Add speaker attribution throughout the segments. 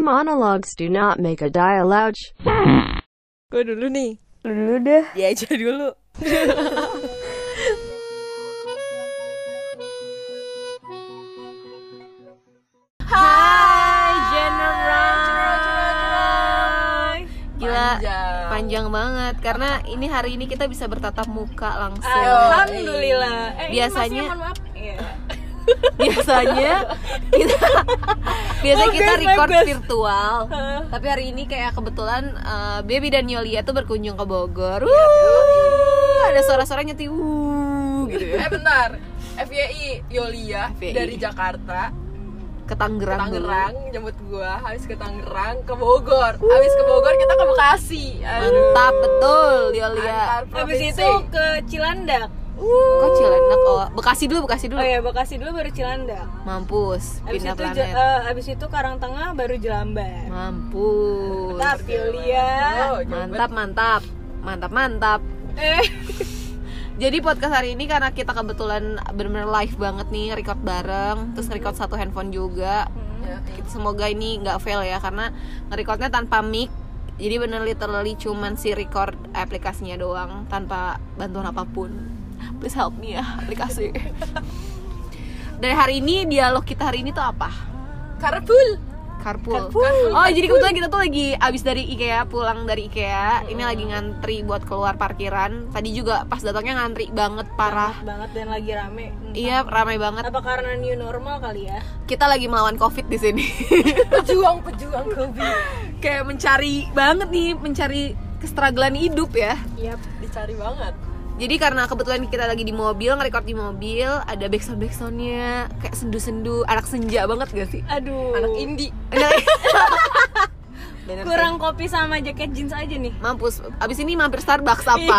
Speaker 1: monologues do not make a dialogue.
Speaker 2: Gue dulu nih.
Speaker 3: Dulu deh.
Speaker 2: Ya aja dulu. Hai General. Gila, panjang banget karena ini hari ini kita bisa bertatap muka langsung.
Speaker 4: Alhamdulillah. Eh, ini
Speaker 2: Biasanya-
Speaker 4: masih, mohon maaf. Iya.
Speaker 2: Biasanya kita biasanya
Speaker 4: Oh,
Speaker 2: kita
Speaker 4: guys, my
Speaker 2: record
Speaker 4: best.
Speaker 2: virtual. Tapi hari ini kayak kebetulan eh, Baby dan Yolia tuh berkunjung ke
Speaker 3: Iya.
Speaker 2: Bogor. Wuh, ada suara-suara nyeti wuh, gitu ya.
Speaker 4: Eh bentar. FYI Yolia
Speaker 2: FYI.
Speaker 4: dari Jakarta
Speaker 2: Ke Tangerang. dulu.
Speaker 4: Tangerang jemput gua habis ke Tangerang ke Bogor habis ke Bogor kita ke Bekasi aduh
Speaker 2: Mantap betul Yolia.
Speaker 4: habis
Speaker 3: itu ke Cilandak.
Speaker 2: Kok Cilandak oh Bekasi dulu Bekasi dulu.
Speaker 3: Oh ya Bekasi dulu baru Cilandak.
Speaker 2: Mampus
Speaker 3: Abis
Speaker 2: pindah
Speaker 3: itu
Speaker 2: planet.
Speaker 3: Ja- eh, abis itu Karangtengah baru Jelambar.
Speaker 2: Mampus.
Speaker 3: Mantap
Speaker 4: Oh,
Speaker 3: Yulia.
Speaker 2: Mantap mantap. Mantap mantap.
Speaker 3: Eh,
Speaker 2: Jadi podcast hari ini karena kita kebetulan bener-bener live banget nih record bareng, terus record satu handphone juga. Ya, Kita- Semoga ini nggak fail ya karena ngerecordnya tanpa mic. Jadi bener literally cuman si record aplikasinya doang tanpa bantuan apapun. Please help me ya aplikasi. Dari hari ini dialog kita hari ini tuh apa?
Speaker 4: Karpul
Speaker 2: Carpool. Oh, jadi kebetulan kita tuh lagi abis dari IKEA, pulang dari IKEA. Ini lagi ngantri buat keluar parkiran. Tadi juga pas datangnya ngantri banget parah.
Speaker 3: banget dan lagi rame. Entah.
Speaker 2: Iya, ramai banget.
Speaker 3: Apa karena new normal kali ya?
Speaker 2: Kita lagi melawan Covid di sini.
Speaker 4: pejuang pejuang Covid
Speaker 2: Kayak mencari banget nih, mencari kestragalan hidup ya.
Speaker 3: Iya.
Speaker 4: dicari banget
Speaker 2: Jadi karena kebetulan kita lagi di mobil, ngerekord di mobil, ada backsound backsoundnya, kayak sendu-sendu, anak senja banget gak sih? Nah, iya.
Speaker 3: Aduh.
Speaker 4: anak indie
Speaker 2: Bener sih.
Speaker 3: Kurang kopi sama jaket jeans aja nih.
Speaker 2: mampus. Abis ini mampir Starbucks apa?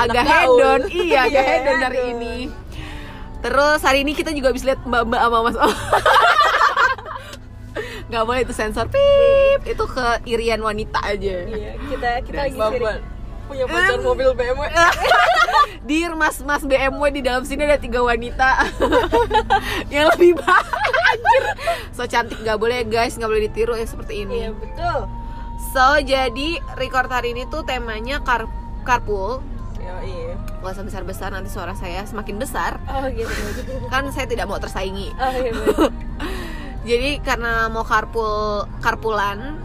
Speaker 2: agak
Speaker 4: anak gaul.
Speaker 2: hedon iya agak
Speaker 3: Iya,
Speaker 2: hedon dari
Speaker 3: hedon.
Speaker 2: ini terus hari ini kita juga habis lihat mbak mbak sama mas om nggak boleh itu sensor pip itu keirian wanita aja
Speaker 3: Iya, kita kita lagi
Speaker 4: Bambang punya pacar mobil BMW
Speaker 2: dir mas mas BMW di dalam sini ada tiga wanita yang lebih baik Anjir. so cantik nggak boleh guys nggak boleh ditiru ya seperti ini
Speaker 3: Iya, betul.
Speaker 2: so jadi record hari ini tuh temanya car carpool
Speaker 4: Yoi.
Speaker 2: nggak usah besar besar nanti suara saya semakin besar
Speaker 3: Oh, gitu.
Speaker 2: kan saya tidak mau tersaingi
Speaker 3: Oh, iya. bener.
Speaker 2: jadi karena mau carpool carpoolan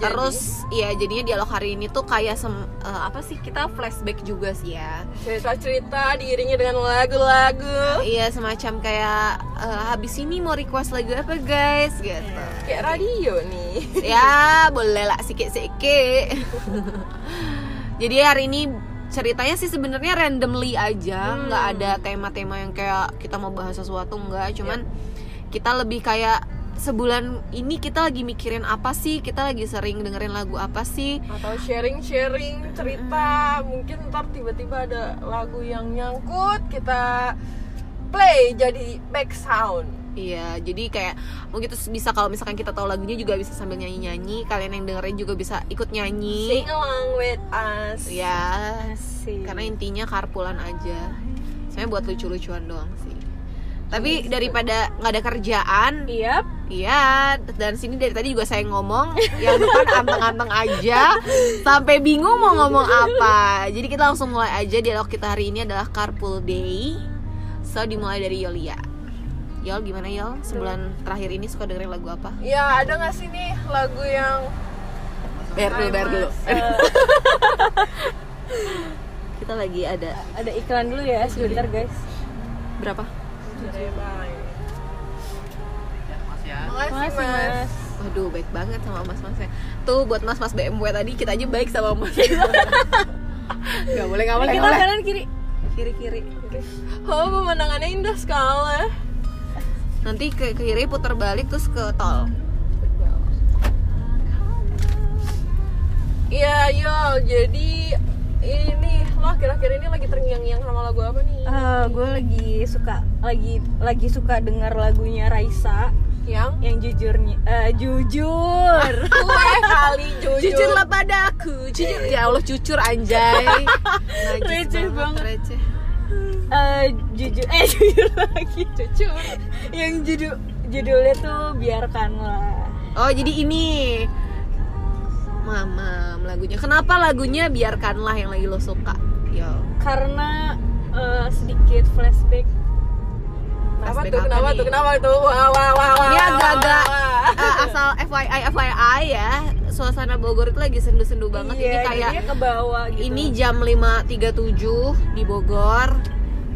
Speaker 4: Jadi?
Speaker 2: terus ya jadinya dialog hari ini tuh kayak sem- eh, apa sih kita flashback juga sih ya
Speaker 4: cerita-cerita diiringi dengan lagu-lagu
Speaker 2: iya semacam kayak eh, habis ini mau request lagu apa guys gitu
Speaker 4: kayak radio nih
Speaker 2: ya boleh lah sikit sikit jadi hari ini ceritanya sih sebenarnya randomly aja nggak ada tema-tema yang kayak kita mau bahas sesuatu nggak cuman kita lebih kayak sebulan ini kita lagi mikirin apa sih kita lagi sering dengerin lagu apa sih
Speaker 4: atau sharing-sharing cerita mungkin ntar tiba-tiba ada lagu yang nyangkut kita play jadi back sound
Speaker 2: Iya, jadi kayak mungkin terus bisa kalau misalkan kita tahu lagunya juga bisa sambil nyanyi-nyanyi. Kalian yang dengerin juga bisa ikut nyanyi.
Speaker 4: sing along with us
Speaker 2: Ya,
Speaker 3: Asik.
Speaker 2: karena intinya karpulan aja saya buat lucu-lucuan doang sih tapi daripada nggak ada kerjaan
Speaker 3: Iya,
Speaker 2: iya dan sini dari tadi juga saya ngomong yang depan anteng-anteng aja sampai bingung mau ngomong apa jadi kita langsung mulai aja dialog kita hari ini adalah carpool day so dimulai dari Yolia Yol gimana Yol sebulan terakhir ini suka dengerin lagu apa
Speaker 4: ya ada nggak sih nih lagu yang
Speaker 2: bayar dulu bayar dulu
Speaker 3: Eh,
Speaker 2: kita lagi ada
Speaker 3: ada iklan dulu ya sebentar guys.
Speaker 2: berapa
Speaker 4: Makasih
Speaker 3: Makasih,
Speaker 4: mas
Speaker 3: Mas.
Speaker 2: Waduh, baik banget sama mas-masnya. Tuh buat mas-mas BMW tadi kita aja baik sama mas. gak boleh, gak boleh,
Speaker 3: Kita
Speaker 2: gak boleh.
Speaker 3: kanan kiri.
Speaker 2: Kiri-kiri.
Speaker 4: oh pemandangannya indah sekali
Speaker 2: Nanti ke ke kiri putar balik terus ke tol.
Speaker 4: Iya yo jadi ini lo akhir-akhir ini lagi terngiang-ngiang sama lagu apa nih
Speaker 3: Eh, gue lagi suka lagi lagi suka dengar lagunya Raisa
Speaker 4: yang
Speaker 3: yang jujurnya eh, jujur.
Speaker 4: gue kali jujur,
Speaker 2: Jujurlah padaku, jujur. Ya Allah, cucur anjay. Najis
Speaker 3: Receh banget.
Speaker 2: receh.
Speaker 3: Eh, jujur eh jujur lagi.
Speaker 4: jujur
Speaker 3: Yang judul judulnya tuh biarkanlah
Speaker 2: Oh jadi ini Mama lagunya. Kenapa lagunya biarkanlah yang lagi lo suka? Yo.
Speaker 3: karena eh, sedikit flashback
Speaker 4: Kenapa
Speaker 2: Flashback
Speaker 4: tuh?
Speaker 2: apa
Speaker 4: Kenapa
Speaker 2: nih?
Speaker 4: tuh? Kenapa tuh? Wah, wah, wah, wah.
Speaker 2: Ini
Speaker 4: wah,
Speaker 2: agak-agak
Speaker 4: wah, wah.
Speaker 2: eh, asal FYI FYI ya. Suasana Bogor itu lagi sendu-sendu banget.
Speaker 3: Iya,
Speaker 2: ini kayak
Speaker 3: jadinya ke bawah gitu
Speaker 2: ini jam 5.37 di Bogor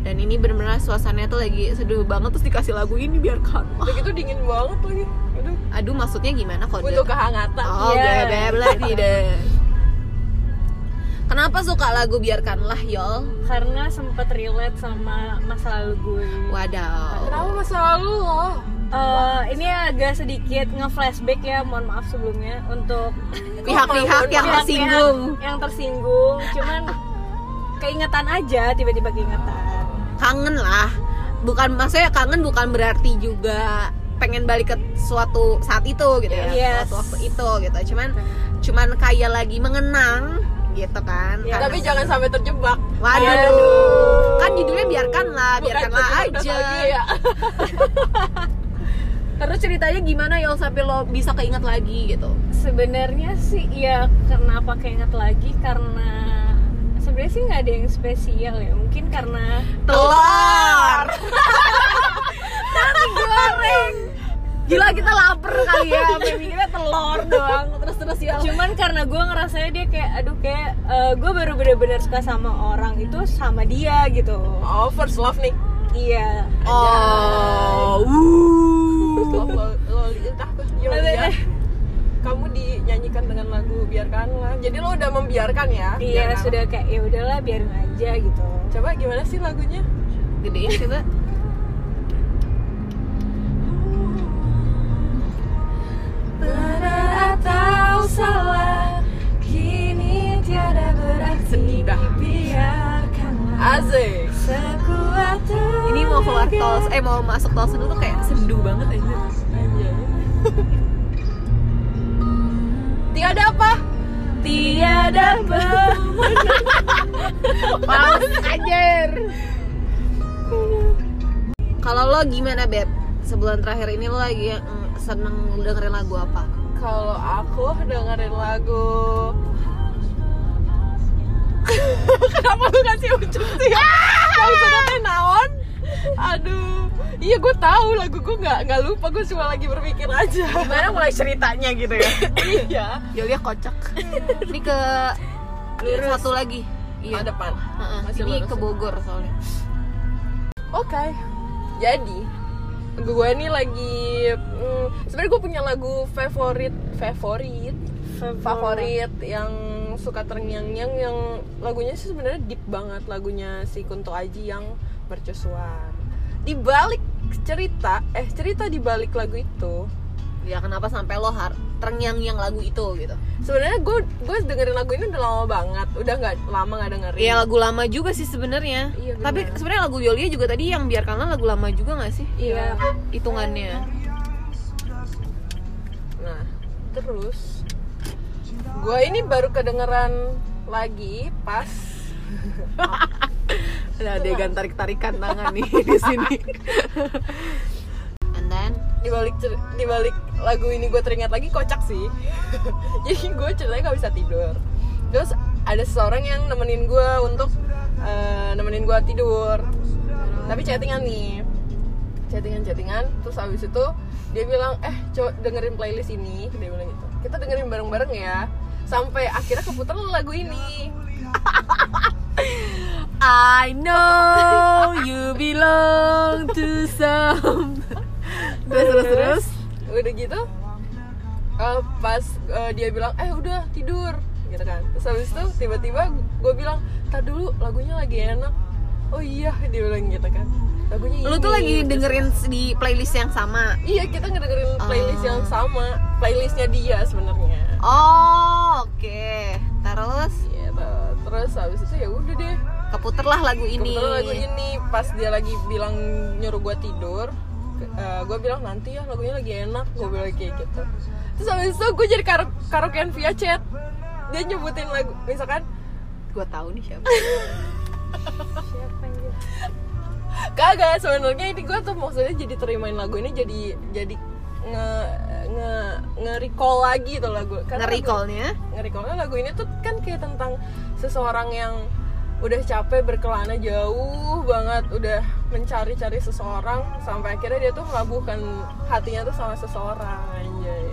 Speaker 2: dan ini benar-benar suasananya tuh lagi seduh banget terus dikasih lagu ini biarkanlah.
Speaker 4: Udah gitu dingin banget lagi. Aduh,
Speaker 2: Aduh maksudnya gimana kode?
Speaker 4: butuh kehangatan.
Speaker 2: Oh,
Speaker 3: Iya.
Speaker 2: bla bla tidak. Kenapa suka lagu Kan biarkanlah, Yol?
Speaker 3: karena sempat relate sama masa lalu gue
Speaker 2: Wadaw.
Speaker 4: Kenapa masa lalu lo?
Speaker 3: Eh, ini agak sedikit nge-flashback ya mohon maaf sebelumnya untuk
Speaker 2: pihak-pihak yang
Speaker 3: pihak-pihak
Speaker 2: tersinggung
Speaker 3: yang tersinggung cuman keingetan aja tiba-tiba keingetan
Speaker 2: kangen lah bukan maksudnya kangen bukan berarti juga pengen balik ke suatu saat itu gitu ya
Speaker 3: Yes.
Speaker 2: suatu waktu itu gitu cuman cuman kayak lagi mengenang gitu kan
Speaker 3: Ya,
Speaker 2: Karena-
Speaker 4: Tapi jangan sampai terjebak.
Speaker 2: waduh
Speaker 4: Aduh.
Speaker 2: kan judulnya biarkanlah
Speaker 4: Bukan
Speaker 2: biarkanlah
Speaker 4: terjebak
Speaker 2: aja
Speaker 4: nostalgia ya.
Speaker 2: terus ceritanya gimana ya sampai lo bisa keinget lagi gitu
Speaker 3: sebenarnya sih ya kenapa keinget lagi karena sebenarnya sih nggak ada yang spesial ya mungkin karena
Speaker 2: telur nasi goreng gila kita lapar kali ya sampai mikirnya telur doang terus terus ya
Speaker 3: cuman karena gue ngerasanya dia kayak aduh kayak gue baru bener-bener suka sama orang itu sama dia gitu
Speaker 4: Oh, first love nih.
Speaker 3: iya
Speaker 2: Oh,
Speaker 4: First love lo, lo entah apa. Yo,
Speaker 3: Aduh,
Speaker 4: iya.
Speaker 3: aduh.
Speaker 4: Kamu dinyanyikan dengan lagu biarkanlah. Jadi lo udah membiarkan ya?
Speaker 3: iya
Speaker 4: Biarkanlah.
Speaker 3: sudah kayak ya udahlah biarin aja gitu
Speaker 4: Coba gimana sih lagunya?
Speaker 2: gedein coba.
Speaker 4: Benar atau salah Kini tiada berarti Biarkanlah Asik
Speaker 2: Ini mau keluar tol, eh mau masuk tol sendu tuh kayak sendu banget aja.
Speaker 4: Anjay. Tiada apa?
Speaker 3: tiada
Speaker 2: Males anjir. Kalau lo gimana beb? Sebulan terakhir ini lo lagi mm, seneng dengerin lagu apa?
Speaker 4: Kalau aku dengerin lagu Kenapa lu kasih ujung sih? Maksudnya teh naon? Aduh Iya gue tahu lagu gue nggak nggak lupa gue cuma lagi berpikir aja. Gimana mulai ceritanya gitu ya? iya.
Speaker 2: Yulia kocak. Ini ke
Speaker 4: Lurus.
Speaker 2: satu lagi.
Speaker 4: Iya.
Speaker 2: Iya.
Speaker 4: depan.
Speaker 2: Heeh,
Speaker 4: Masih
Speaker 2: Ini
Speaker 4: lurus.
Speaker 2: ke Bogor soalnya.
Speaker 4: Oke. Jadi gue nih lagi mm, sebenarnya gue punya lagu favorit favorit favorit yang suka terngiang-ngiang yang lagunya sih sebenarnya deep banget lagunya si Kunto Aji yang mercusuar. Di balik cerita eh cerita di balik lagu itu
Speaker 2: Ya kenapa sampai lo har terngiang-ngiang lagu itu gitu?
Speaker 4: sebenarnya gue gue dengerin lagu ini udah lama banget udah nggak lama nggak dengerin
Speaker 2: Iya lagu lama juga sih sebenarnya.
Speaker 4: Iya, benar.
Speaker 2: Tapi sebenarnya lagu Yolia juga tadi yang biarkanlah lagu lama juga nggak sih
Speaker 4: iya
Speaker 2: hitungannya?
Speaker 4: Nah, terus gue ini baru kedengeran lagi pas
Speaker 2: Ada adegan tarik-tarikan tangan nih di sini. And then
Speaker 4: dibalik dibalik lagu ini gue teringat lagi kocak sih. Jadi gue ceritanya gak bisa tidur. Terus ada seseorang yang nemenin gue untuk eh, nemenin gue tidur. Tapi chattingan nih, chattingan chattingan. Terus abis itu dia bilang eh coba dengerin playlist ini, dia bilang gitu. Kita dengerin bareng-bareng ya. Sampai akhirnya keputar lagu ini.
Speaker 2: I know you belong to some. terus terus terus.
Speaker 4: udah gitu eh, pas eh, dia bilang eh udah tidur gitu kan terus habis itu tiba-tiba gue bilang tar dulu lagunya lagi enak oh iya dia bilang gitu kan lagunya
Speaker 2: Lu tuh
Speaker 4: ini."
Speaker 2: lagi
Speaker 4: Terus-
Speaker 2: dengerin di playlist yang sama.
Speaker 4: iya kita ngedengerin playlist
Speaker 2: Ah.
Speaker 4: yang sama playlistnya dia sebenarnya
Speaker 2: Oh, oke. Terus
Speaker 4: gitu terus habis itu ya udah deh
Speaker 2: keputerlah lagu ini.
Speaker 4: Kebetulan lagu ini pas dia lagi bilang nyuruh gue tidur gue bilang nanti ya lagunya lagi enak gue bilang kayak gitu terus habis itu gue jadi karo karaokean via chat dia nyebutin lagu misalkan
Speaker 2: Gua tahu nih siapa.
Speaker 3: siapa yang dia?
Speaker 4: kagak sebenarnya ini gue tuh maksudnya jadi terimain lagu ini jadi jadi nge nge nge recall lagi tuh lagu Karena lagu-
Speaker 2: Nge-recallnya
Speaker 4: Ngerikolnya lagu ini tuh kan kayak tentang seseorang yang udah capek berkelana jauh banget udah mencari-cari seseorang sampai akhirnya dia tuh melabuhkan hatinya tuh sama seseorang anjay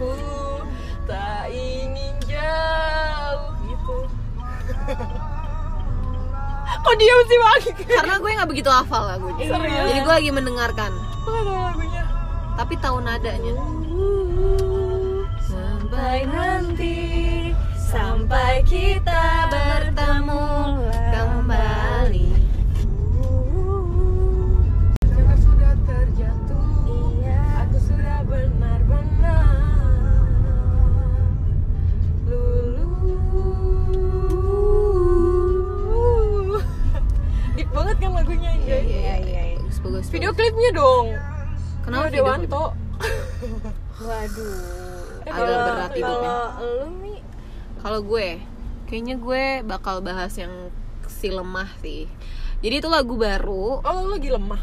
Speaker 4: ku tak ingin jauh gitu kok diam sih bang
Speaker 2: Karena gue nggak begitu hafal lagunya
Speaker 4: Serius?
Speaker 2: Jadi gue lagi mendengarkan
Speaker 4: Kok ada lagunya
Speaker 2: Tapi tahu nadanya
Speaker 3: Sampai nanti Sampai kita bertemu
Speaker 2: Kembali
Speaker 4: Jangan sudah terjatuh
Speaker 3: Iya.
Speaker 4: Aku sudah benar-benar lulu. Deep banget kan lagunya Anjay
Speaker 3: Iya iya iya
Speaker 2: Bagus, bagus,
Speaker 4: Video klipnya dong Kenapa
Speaker 2: Kenapa video
Speaker 4: Dewanto
Speaker 3: Waduh
Speaker 4: Eh,
Speaker 2: agak
Speaker 4: kalau-
Speaker 2: berat hidupnya.
Speaker 3: Kalau lu Mi
Speaker 2: Kalau gue, kayaknya gue bakal bahas yang si lemah sih. Jadi itu lagu baru.
Speaker 4: Oh lu lagi lemah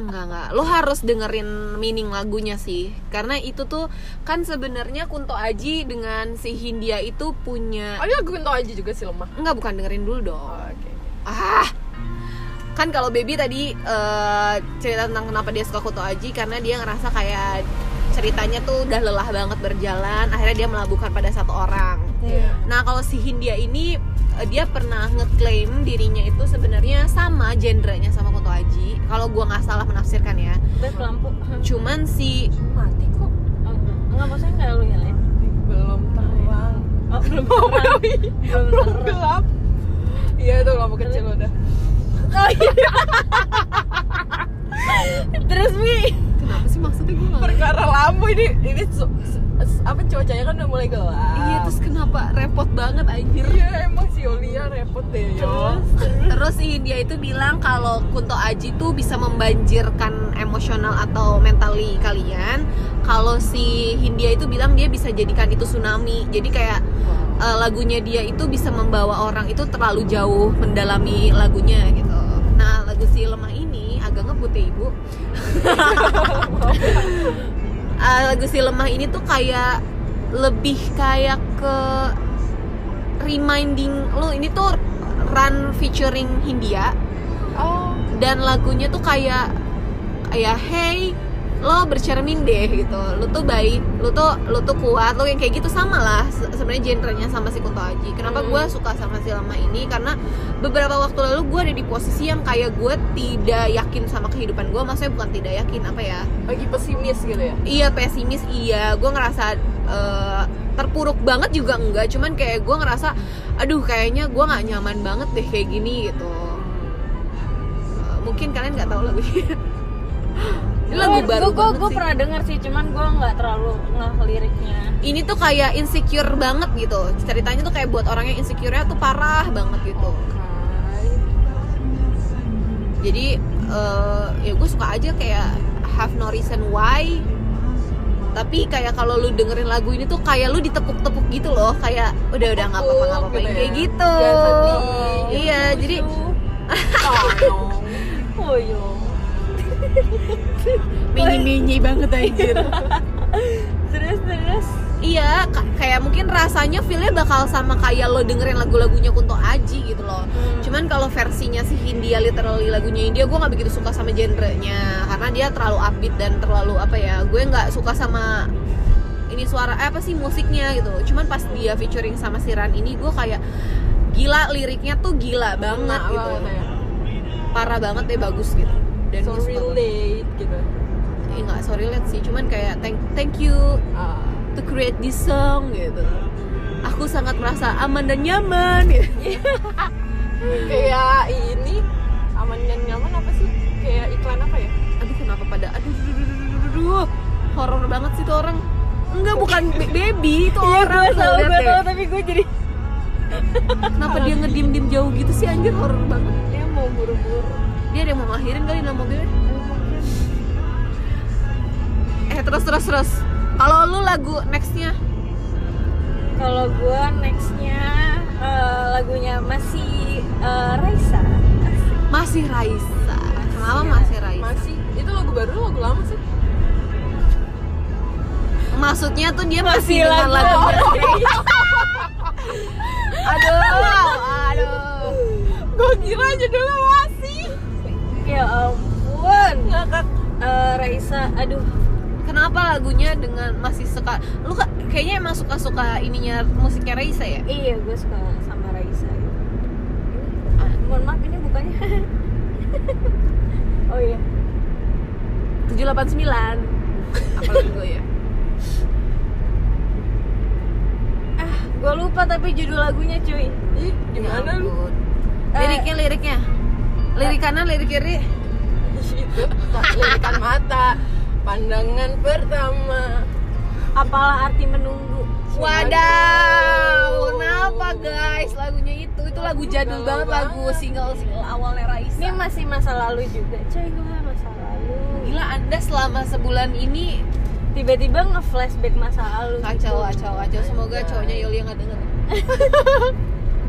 Speaker 2: Enggak enggak. Lo harus dengerin meaning lagunya sih. Karena itu tuh kan sebenarnya Kunto Aji dengan si Hindia itu punya
Speaker 4: Oh iya gue tau aja juga sih lemah
Speaker 2: Enggak bukan dengerin dulu dong.
Speaker 4: Oh, Oke
Speaker 2: Ah. Kan kalau Baby tadi eh, cerita tentang kenapa dia suka Kunto Aji karena dia ngerasa kayak ceritanya tuh udah lelah banget berjalan, akhirnya dia melabuhkan pada satu orang.
Speaker 3: Iya
Speaker 2: Nah, kalau si Hindia ini eh, dia pernah ngeklaim dirinya itu sebenarnya sama gendernya sama Kunto Aji. Kalau gua nggak salah menafsirkan ya.
Speaker 3: Beb lampu Hah,
Speaker 2: Cuman si
Speaker 4: Mati kok
Speaker 3: oh, enggak. Enggak maksudnya enggak lu nyalain
Speaker 4: Belum terang
Speaker 3: Oh belum iya. terang Belum
Speaker 4: Belum
Speaker 3: terang
Speaker 4: gelap Iya tuh lampu kecil udah
Speaker 3: Terus Mi
Speaker 2: kenapa sih maksudnya gua nggak-
Speaker 4: Perkara lampu ini Ini su- su- su- apa cuacanya kan udah mulai gelap
Speaker 2: Iya, terus kenapa repot banget anjir.
Speaker 4: Iya emang si Olia repot deh yo.
Speaker 2: Terus si Hindia itu bilang kalau Kunto Aji tuh bisa membanjirkan emosional atau mentally kalian. Kalau si Hindia itu bilang dia bisa jadikan itu tsunami. Jadi kayak eh, lagunya dia itu bisa membawa orang itu terlalu jauh mendalami lagunya gitu. Nah, lagu si lemah ini agak ngebut ya ibu. Eh, lagu si lemah ini tuh kayak lebih kayak ke reminding lo ini tuh run featuring Hindia
Speaker 4: Oh,
Speaker 2: dan lagunya tuh kayak kayak hey lo bercermin deh gitu lo tuh baik lo tuh lo tuh kuat lo yang kayak gitu sama lah se- sebenarnya genrenya sama si Kunto Aji kenapa
Speaker 4: Hmm.
Speaker 2: gue suka sama si lama ini karena beberapa waktu lalu gue ada di posisi yang kayak gue tidak yakin sama kehidupan gue maksudnya bukan tidak yakin apa ya
Speaker 4: lagi pesimis gitu ya.
Speaker 2: iya pesimis iya gue ngerasa eh, terpuruk banget juga enggak cuman kayak gue ngerasa aduh kayaknya gue nggak nyaman banget deh kayak gini gitu Eh, mungkin kalian nggak tahu lagu ini Ini lagu baru
Speaker 3: Gue
Speaker 2: banget sih.
Speaker 3: pernah denger sih Cuman gue nggak terlalu ngeh liriknya
Speaker 2: ini tuh kayak insecure banget gitu ceritanya tuh kayak buat orang yang insecure-nya tuh parah banget gitu jadi eh, ya gue suka aja kayak have no reason why tapi kayak kalau lu dengerin lagu ini tuh kayak lu ditekuk-tekuk gitu loh kayak udah udah nggak apa-apa nggak apa-apa
Speaker 4: Gitu ya.
Speaker 2: kayak gitu
Speaker 4: Jangan sedih.
Speaker 2: iya jadi
Speaker 3: Oh yo
Speaker 2: menyi-menyi banget anjir
Speaker 3: Terus terus
Speaker 2: iya ka- kayak mungkin rasanya feelnya bakal sama kayak lo dengerin lagu-lagunya Kunto Aji gitu loh cuman kalau versinya si Hindia literally lagunya India gue nggak begitu suka sama genrenya karena dia terlalu upbeat dan terlalu apa ya gue nggak suka sama ini suara eh, apa sih musiknya gitu cuman pas dia featuring sama si Ran ini gue kayak gila liriknya tuh gila banget gitu
Speaker 4: ya.
Speaker 2: parah banget deh bagus gitu dan
Speaker 4: So
Speaker 2: gue suka banget.
Speaker 4: relate gitu.
Speaker 2: Eh, nggak sorry relate sih cuman kayak thank thank you
Speaker 4: Ah.
Speaker 2: to create this song gitu aku sangat merasa aman dan nyaman gitu.
Speaker 4: Kayak ini aman dan nyaman apa sih? Kayak iklan apa ya?
Speaker 2: aduh kenapa pada aduh aduh, aduh, aduh, aduh, aduh. horor banget sih tuh orang enggak bukan ba- baby itu orang
Speaker 3: Gue
Speaker 2: tuh,
Speaker 3: tau
Speaker 2: lihat
Speaker 3: gue
Speaker 2: deh.
Speaker 3: tau tapi gue jadi
Speaker 2: kenapa dia ngedim dim jauh gitu sih anjir horor banget
Speaker 3: Dia mau buru-buru
Speaker 2: dia ada yang mau ngelahirin kali dalam mobilnya eh terus terus terus kalau lu lagu nextnya
Speaker 3: Kalau gue nextnya eh, lagunya masih eh, Raisa
Speaker 2: masih Raisa lama masih Raisa
Speaker 4: masih itu lagu baru lagu lama sih
Speaker 2: maksudnya tuh dia masih, dengan
Speaker 3: lagu
Speaker 2: lagu
Speaker 3: Raisa.
Speaker 2: aduh aduh
Speaker 4: gue kira aja dulu masih
Speaker 3: ya ampun
Speaker 4: ngakak
Speaker 3: Eh, Raisa aduh
Speaker 2: kenapa lagunya dengan masih suka lu ka- kayaknya emang suka suka ininya musiknya Raisa ya
Speaker 3: iya gue suka sama Raisa gitu. Ini- ah, mohon maaf ini bukannya oh iya 789
Speaker 4: apa lagu gue ya
Speaker 3: ah gue lupa tapi judul lagunya cuy
Speaker 4: ih gimana lu
Speaker 2: ampun. liriknya liriknya lirik kanan lirik kiri
Speaker 4: Ih, itu tak- lirikan mata pandangan pertama
Speaker 3: apalah arti menunggu
Speaker 2: Wadaw, kenapa guys lagunya itu? Itu lagu jadul
Speaker 4: galau
Speaker 2: banget, lagu
Speaker 4: banget.
Speaker 2: single single awalnya Raisa.
Speaker 3: ini masih masa lalu juga cuy gue masa lalu
Speaker 2: Gila Anda selama sebulan ini
Speaker 3: tiba-tiba nge-flashback masa lalu
Speaker 2: kacau
Speaker 3: gitu.
Speaker 2: kacau kacau. Semoga cowoknya Yulia nggak denger.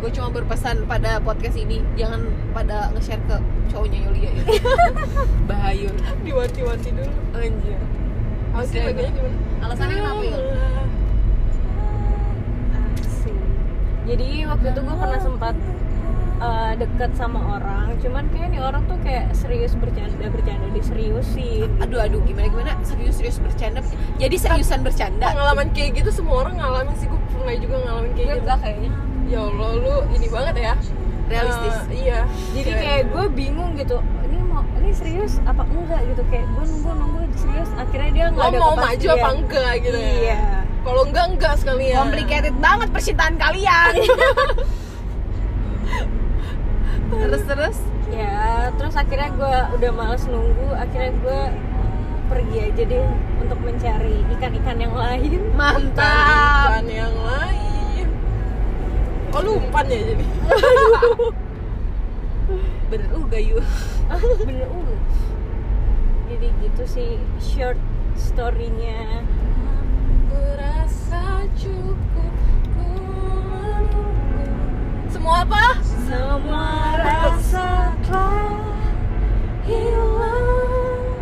Speaker 2: Gue cuma berpesan pada podcast ini jangan pada nge-share ke cowoknya Yulia ya. Bahayun.
Speaker 4: diwanti-wanti dulu anjir apa sih
Speaker 2: Oke.
Speaker 4: lagunya gimana
Speaker 2: Alasannya kenapa Yul?
Speaker 3: Asik. jadi waktu itu gue pernah sempat eh, deket sama orang cuman kayak nih orang tuh kayak serius bercanda bercanda diseriusin
Speaker 2: Aduh aduh gimana gimana serius serius bercanda. Jadi seriusan bercanda.
Speaker 4: pengalaman kayak gitu semua orang ngalamin sih gue pernah juga ngalamin kayak
Speaker 3: Gue
Speaker 2: Iya,
Speaker 4: gitu
Speaker 3: enggak kayaknya
Speaker 4: ya allah lu ini banget ya
Speaker 2: Realistis.
Speaker 4: Eh, iya
Speaker 3: jadi kayak gue bingung gitu ini mau ini serius apa enggak gitu kayak gue nunggu nunggu serius akhirnya dia nggak
Speaker 4: lo
Speaker 3: ada
Speaker 4: mau maju
Speaker 3: kepastian.
Speaker 4: apa enggak gitu ya?
Speaker 3: iya
Speaker 4: kalau enggak enggak ya. sekalian
Speaker 2: Complicated banget percintaan kalian. terus terus
Speaker 3: ya terus akhirnya gue udah males nunggu akhirnya gue eh, pergi aja deh untuk mencari ikan-ikan yang lain
Speaker 2: mantap.
Speaker 4: umpan yang lain oh lu umpan ya jadi
Speaker 2: Bener juga Yul.
Speaker 3: bener uh. jadi gitu sih short story-nya
Speaker 4: Kurasa cukup ku menunggu. semua apa?
Speaker 3: semua rasa telah hilang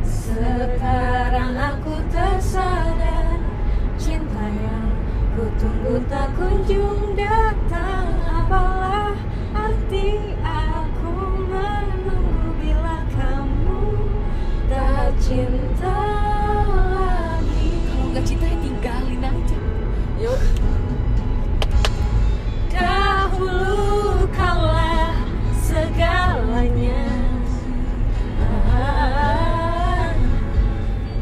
Speaker 3: sekarang aku tersadar cinta yang ku tunggu tak kunjung datang apalah arti aku menunggu bila kamu tak cinta lagi
Speaker 2: Enggak cinta ya tinggalin aja.
Speaker 4: yuk
Speaker 3: Dahulu kaulah segalanya Ah,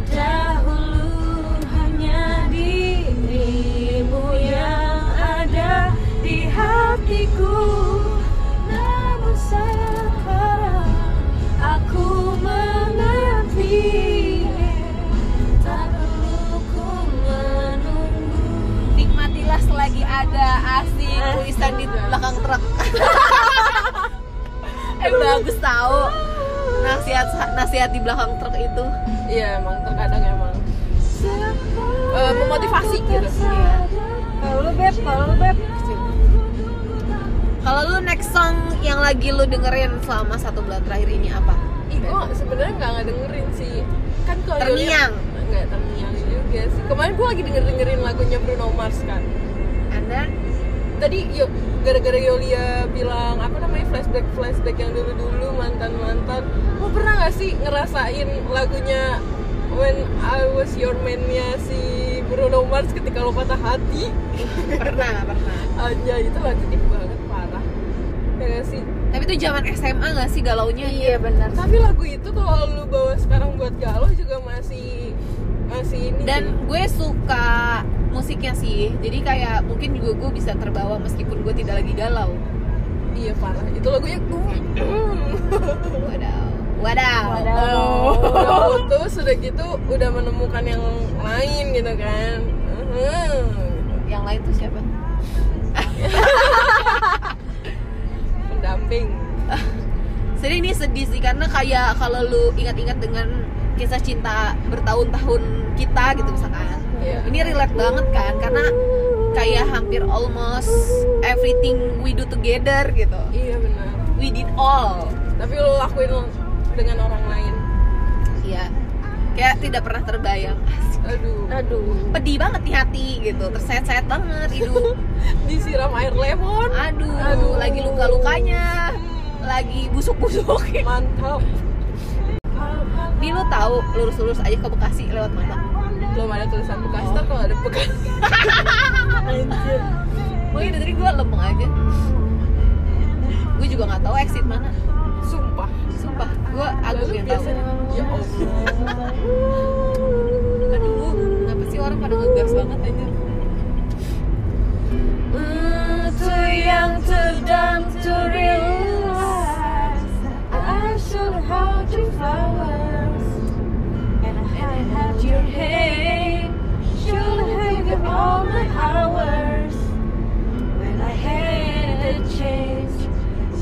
Speaker 3: Dahulu hanya dirimu yang ada di hatiku Namun sekarang aku mengerti Tak perlu ku menunggu
Speaker 2: Nikmatilah selagi ada asik tulisan di belakang truk. eh bagus tahu. Nasihat nasihat di belakang truk itu.
Speaker 4: iya emang terkadang emang eh, memotivasi gitu
Speaker 3: Kalau lu beb, kalau lu beb
Speaker 2: Kalau lu next song yang lagi lu dengerin selama satu bulan terakhir ini apa?
Speaker 4: Ih, gue sebenarnya nggak ngedengerin sih kan kalau
Speaker 2: Terngiang.
Speaker 4: Yulia- nggak terngiang juga sih kemarin gue lagi denger dengerin lagunya Bruno Mars kan
Speaker 2: Anda?
Speaker 4: tadi yuk gara-gara Yolia bilang apa namanya flashback flashback yang dulu dulu mantan mantan lo pernah gak sih ngerasain lagunya When I Was Your Man-nya si Bruno Mars ketika lo patah hati
Speaker 2: Pernah nggak pernah?
Speaker 4: aja itu lagu deep banget parah ya gak sih
Speaker 2: Tapi itu zaman SMA nggak sih galaunya?
Speaker 3: benar
Speaker 4: tapi lagu itu kalau lu bawa sekarang buat galau juga masih masih ini sih.
Speaker 2: dan gue suka musiknya sih jadi kayak mungkin juga gue bisa terbawa meskipun gue tidak lagi galau
Speaker 4: iya parah itu lagunya uh,
Speaker 2: wadaw wadaw,
Speaker 4: Udah putus udah gitu udah menemukan yang lain gitu kan Mhm.
Speaker 2: yang lain tuh siapa
Speaker 4: pendamping
Speaker 2: sedih ini sedih sih karena kayak kalau lu ingat-ingat dengan kisah cinta bertahun-tahun kita gitu misalkan
Speaker 4: Iya.
Speaker 2: ini relate banget kan karena kayak hampir almost everything we do together gitu
Speaker 4: iya benar
Speaker 2: we did all
Speaker 4: tapi lo lakuin dengan orang lain
Speaker 2: Iya. Kayak tidak pernah terbayang.
Speaker 4: aduh
Speaker 3: aduh
Speaker 2: Pedih banget nih hati gitu. Terset-set banget hidup.
Speaker 4: disiram air lemon
Speaker 2: Aduh, lagi luka-lukanya. Lagi busuk-busuk.
Speaker 4: mantap
Speaker 2: Di lu tahu lurus-lurus aja ke Bekasi lewat mana?
Speaker 4: belum ada tulisan bekas ntar kalau ada bekas
Speaker 3: anjir
Speaker 2: Mungkin dari tadi gue lempeng aja. Gue juga nggak tahu exit mana.
Speaker 4: sumpah
Speaker 2: Sumpah, gue agung
Speaker 4: lalu
Speaker 2: yang tahu.
Speaker 4: biasanya ya allah
Speaker 2: Aduh, kenapa sih orang pada ngegas banget aja?
Speaker 3: Itu yang sedang to realize I should hold your flowers And I had your hate Should have you all my hours When I had the change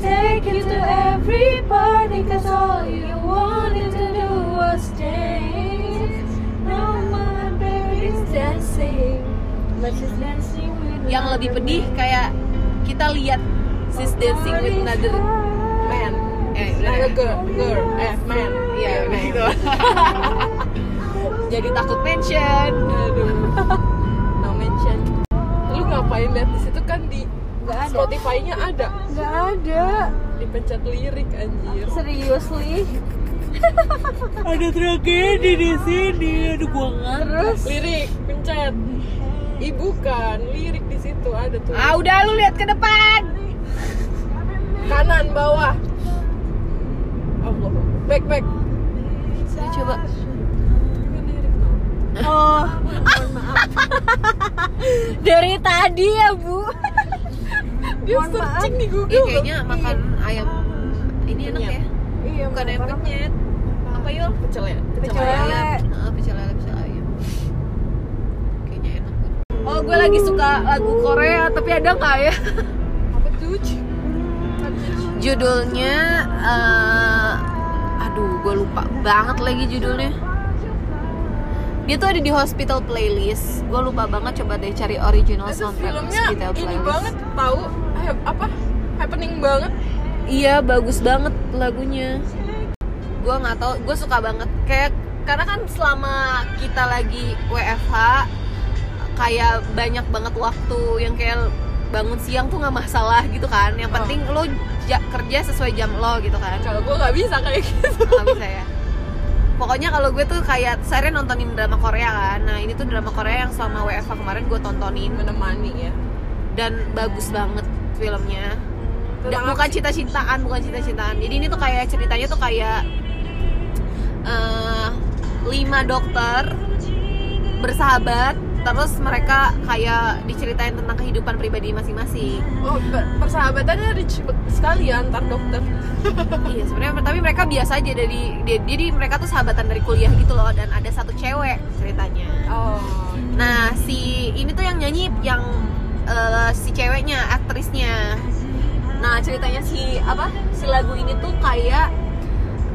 Speaker 3: Take it to everybody Cause all you wanted to do was dance Now my baby's dancing But she's dancing with
Speaker 2: Yang lebih pedih kayak kita lihat sis dancing with another
Speaker 4: man
Speaker 2: eh
Speaker 4: ada
Speaker 2: udah
Speaker 4: girl girl eh man
Speaker 2: Iya, udah gitu. Jadi takut mention.
Speaker 4: aduh no mention lu ngapain lihat di situ kan di
Speaker 3: Gak ada.
Speaker 4: Spotify-nya ada
Speaker 3: Gak ada.
Speaker 4: dipencet lirik anjir
Speaker 3: Seriously?
Speaker 4: ada tragedi di sini aduh gua
Speaker 3: Terus Hmm.
Speaker 4: lirik pencet ibu kan lirik di situ ada tuh
Speaker 2: Ah, udah lu lihat ke depan.
Speaker 4: kanan bawah Allah back back
Speaker 2: Ayo, coba.
Speaker 3: oh dari tadi ya bu
Speaker 4: dia
Speaker 3: Mohon maaf.
Speaker 4: searching di Google
Speaker 2: Ih, Iya, kayaknya makan ayam ini enak ya.
Speaker 3: iya
Speaker 2: Bukan ayam penyet. Apa yul?
Speaker 4: pecel ya
Speaker 3: Pecel lele.
Speaker 2: Heeh, pecel lele, pecel ayam. Kayaknya enak. Oh, gue lagi suka lagu Korea, tapi ada nggak ya?
Speaker 4: apa tuh Ci?
Speaker 2: Judulnya, eh, aduh, gue lupa banget lagi judulnya. Dia tuh ada di hospital playlist. Gue lupa banget. Coba deh cari original
Speaker 4: itu
Speaker 2: soundtrack
Speaker 4: filmnya
Speaker 2: hospital
Speaker 4: ini
Speaker 2: playlist.
Speaker 4: banget tahu Hap- apa happening banget
Speaker 2: Iya, bagus banget lagunya. Gue nggak tahu, gue suka banget. Kayak karena kan selama kita lagi WFH, kayak banyak banget waktu yang kayak bangun siang tuh nggak masalah gitu kan. Yang
Speaker 4: Oh.
Speaker 2: penting lo ja- kerja sesuai jam lo gitu kan.
Speaker 4: kalau gue nggak bisa kayak gitu
Speaker 2: Nggak bisa ya. Pokoknya kalau gue tuh kayak seharian nontonin drama Korea kan. Nah ini tuh drama Korea yang selama WFH kemarin gue tontonin
Speaker 4: menemani ya
Speaker 2: dan bagus banget filmnya. Dan
Speaker 4: Tentang
Speaker 2: bukan cinta-cintaan, bukan cinta-cintaan. Jadi ini tuh kayak ceritanya tuh kayak eh lima dokter bersahabat, terus mereka kayak diceritain tentang kehidupan pribadi masing-masing.
Speaker 4: oh per- persahabatannya rich sekali ya antar dokter
Speaker 2: iya sebenarnya tapi mereka biasa aja dari dia- jadi mereka tuh sahabatan dari kuliah gitu loh dan ada satu cewek ceritanya.
Speaker 4: oh
Speaker 2: Nah si ini tuh yang nyanyi yang eh, si ceweknya aktrisnya. Nah ceritanya si apa si lagu ini tuh kayak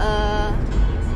Speaker 2: eh,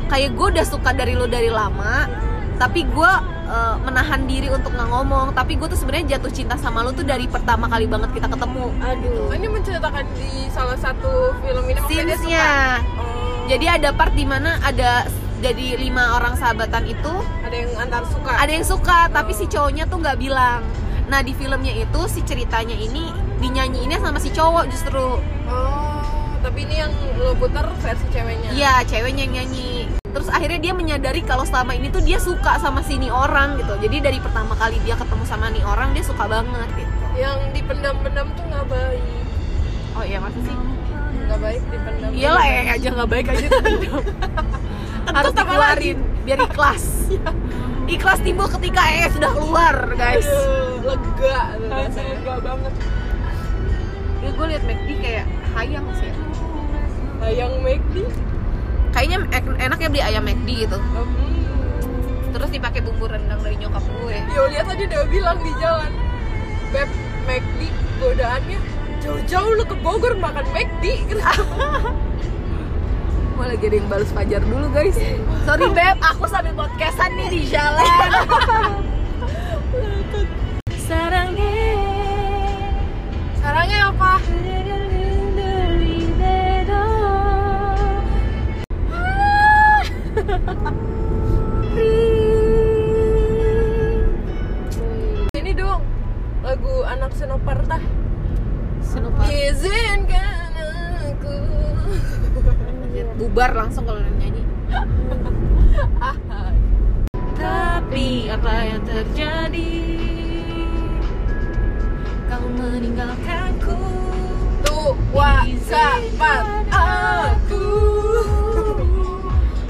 Speaker 2: kayak gue udah suka dari lo dari lama, tapi gue eh, menahan diri untuk nggak ngomong. Tapi gue tuh sebenarnya jatuh cinta sama lo tuh dari pertama kali banget kita ketemu.
Speaker 3: aduh
Speaker 4: ini menceritakan di salah satu film ini maksudnya dia suka
Speaker 2: Scenes-nya.
Speaker 4: oh,
Speaker 2: Jadi ada part dimana ada jadi lima orang sahabatan itu
Speaker 4: ada yang antar suka
Speaker 2: ada yang suka tapi si cowoknya tuh nggak bilang. Nah di filmnya itu si ceritanya ini dinyanyiinnya sama si cowok justru.
Speaker 4: oh tapi ini yang lo puter versi ceweknya
Speaker 2: Iya ceweknya yang nyanyi. Terus akhirnya dia menyadari kalau selama ini tuh dia suka sama sini orang gitu. Jadi dari pertama kali dia ketemu sama nih orang dia suka banget gitu.
Speaker 4: yang dipendam-pendam tuh nggak baik
Speaker 2: Oh iya masa sih?
Speaker 4: nggak baik dipendam
Speaker 2: Iyalah eh aja nggak baik aja dipendam. Harus
Speaker 4: Kentut apa lagi?
Speaker 2: dikeluarin biar ikhlas. ikhlas timbul ketika eh sudah keluar guys.
Speaker 4: Aduh, lega tuh rasanya.
Speaker 3: lega banget
Speaker 2: Ya, gue liat McD kayak hayang sih ya.
Speaker 4: Nah, yang McD
Speaker 2: Kayaknya ek- enak ya beli ayam McD gitu.
Speaker 4: um,
Speaker 2: Terus dipakai bumbu rendang dari nyokap gue.
Speaker 4: ya lihat tadi udah bilang di jalan Beb, McD godaannya jauh-jauh lu ke Bogor makan McD
Speaker 2: Gue lagi ada yang balas fajar dulu guys. Sorry beb, aku sambil podcastan nih di jalan.
Speaker 3: sarangnya
Speaker 4: caranya apa?
Speaker 3: Little in the little door.
Speaker 2: senopartah
Speaker 5: Senopar.
Speaker 2: izinkan aku
Speaker 5: Bubar langsung kalau nyanyi.
Speaker 3: Tapi
Speaker 5: Apa yang terjadi?
Speaker 3: jadi kau meninggalkanku
Speaker 2: tuh wakapat aku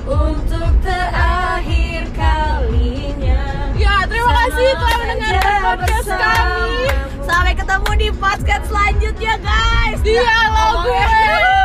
Speaker 3: untuk terakhir kalinya.
Speaker 2: ya terima kasih telah mendengarkan
Speaker 3: Sama
Speaker 2: podcast
Speaker 3: aja
Speaker 2: kami
Speaker 3: bersamamu.
Speaker 5: Sampai ketemu di podcast selanjutnya guys.
Speaker 2: dialog
Speaker 5: Ngomongnya.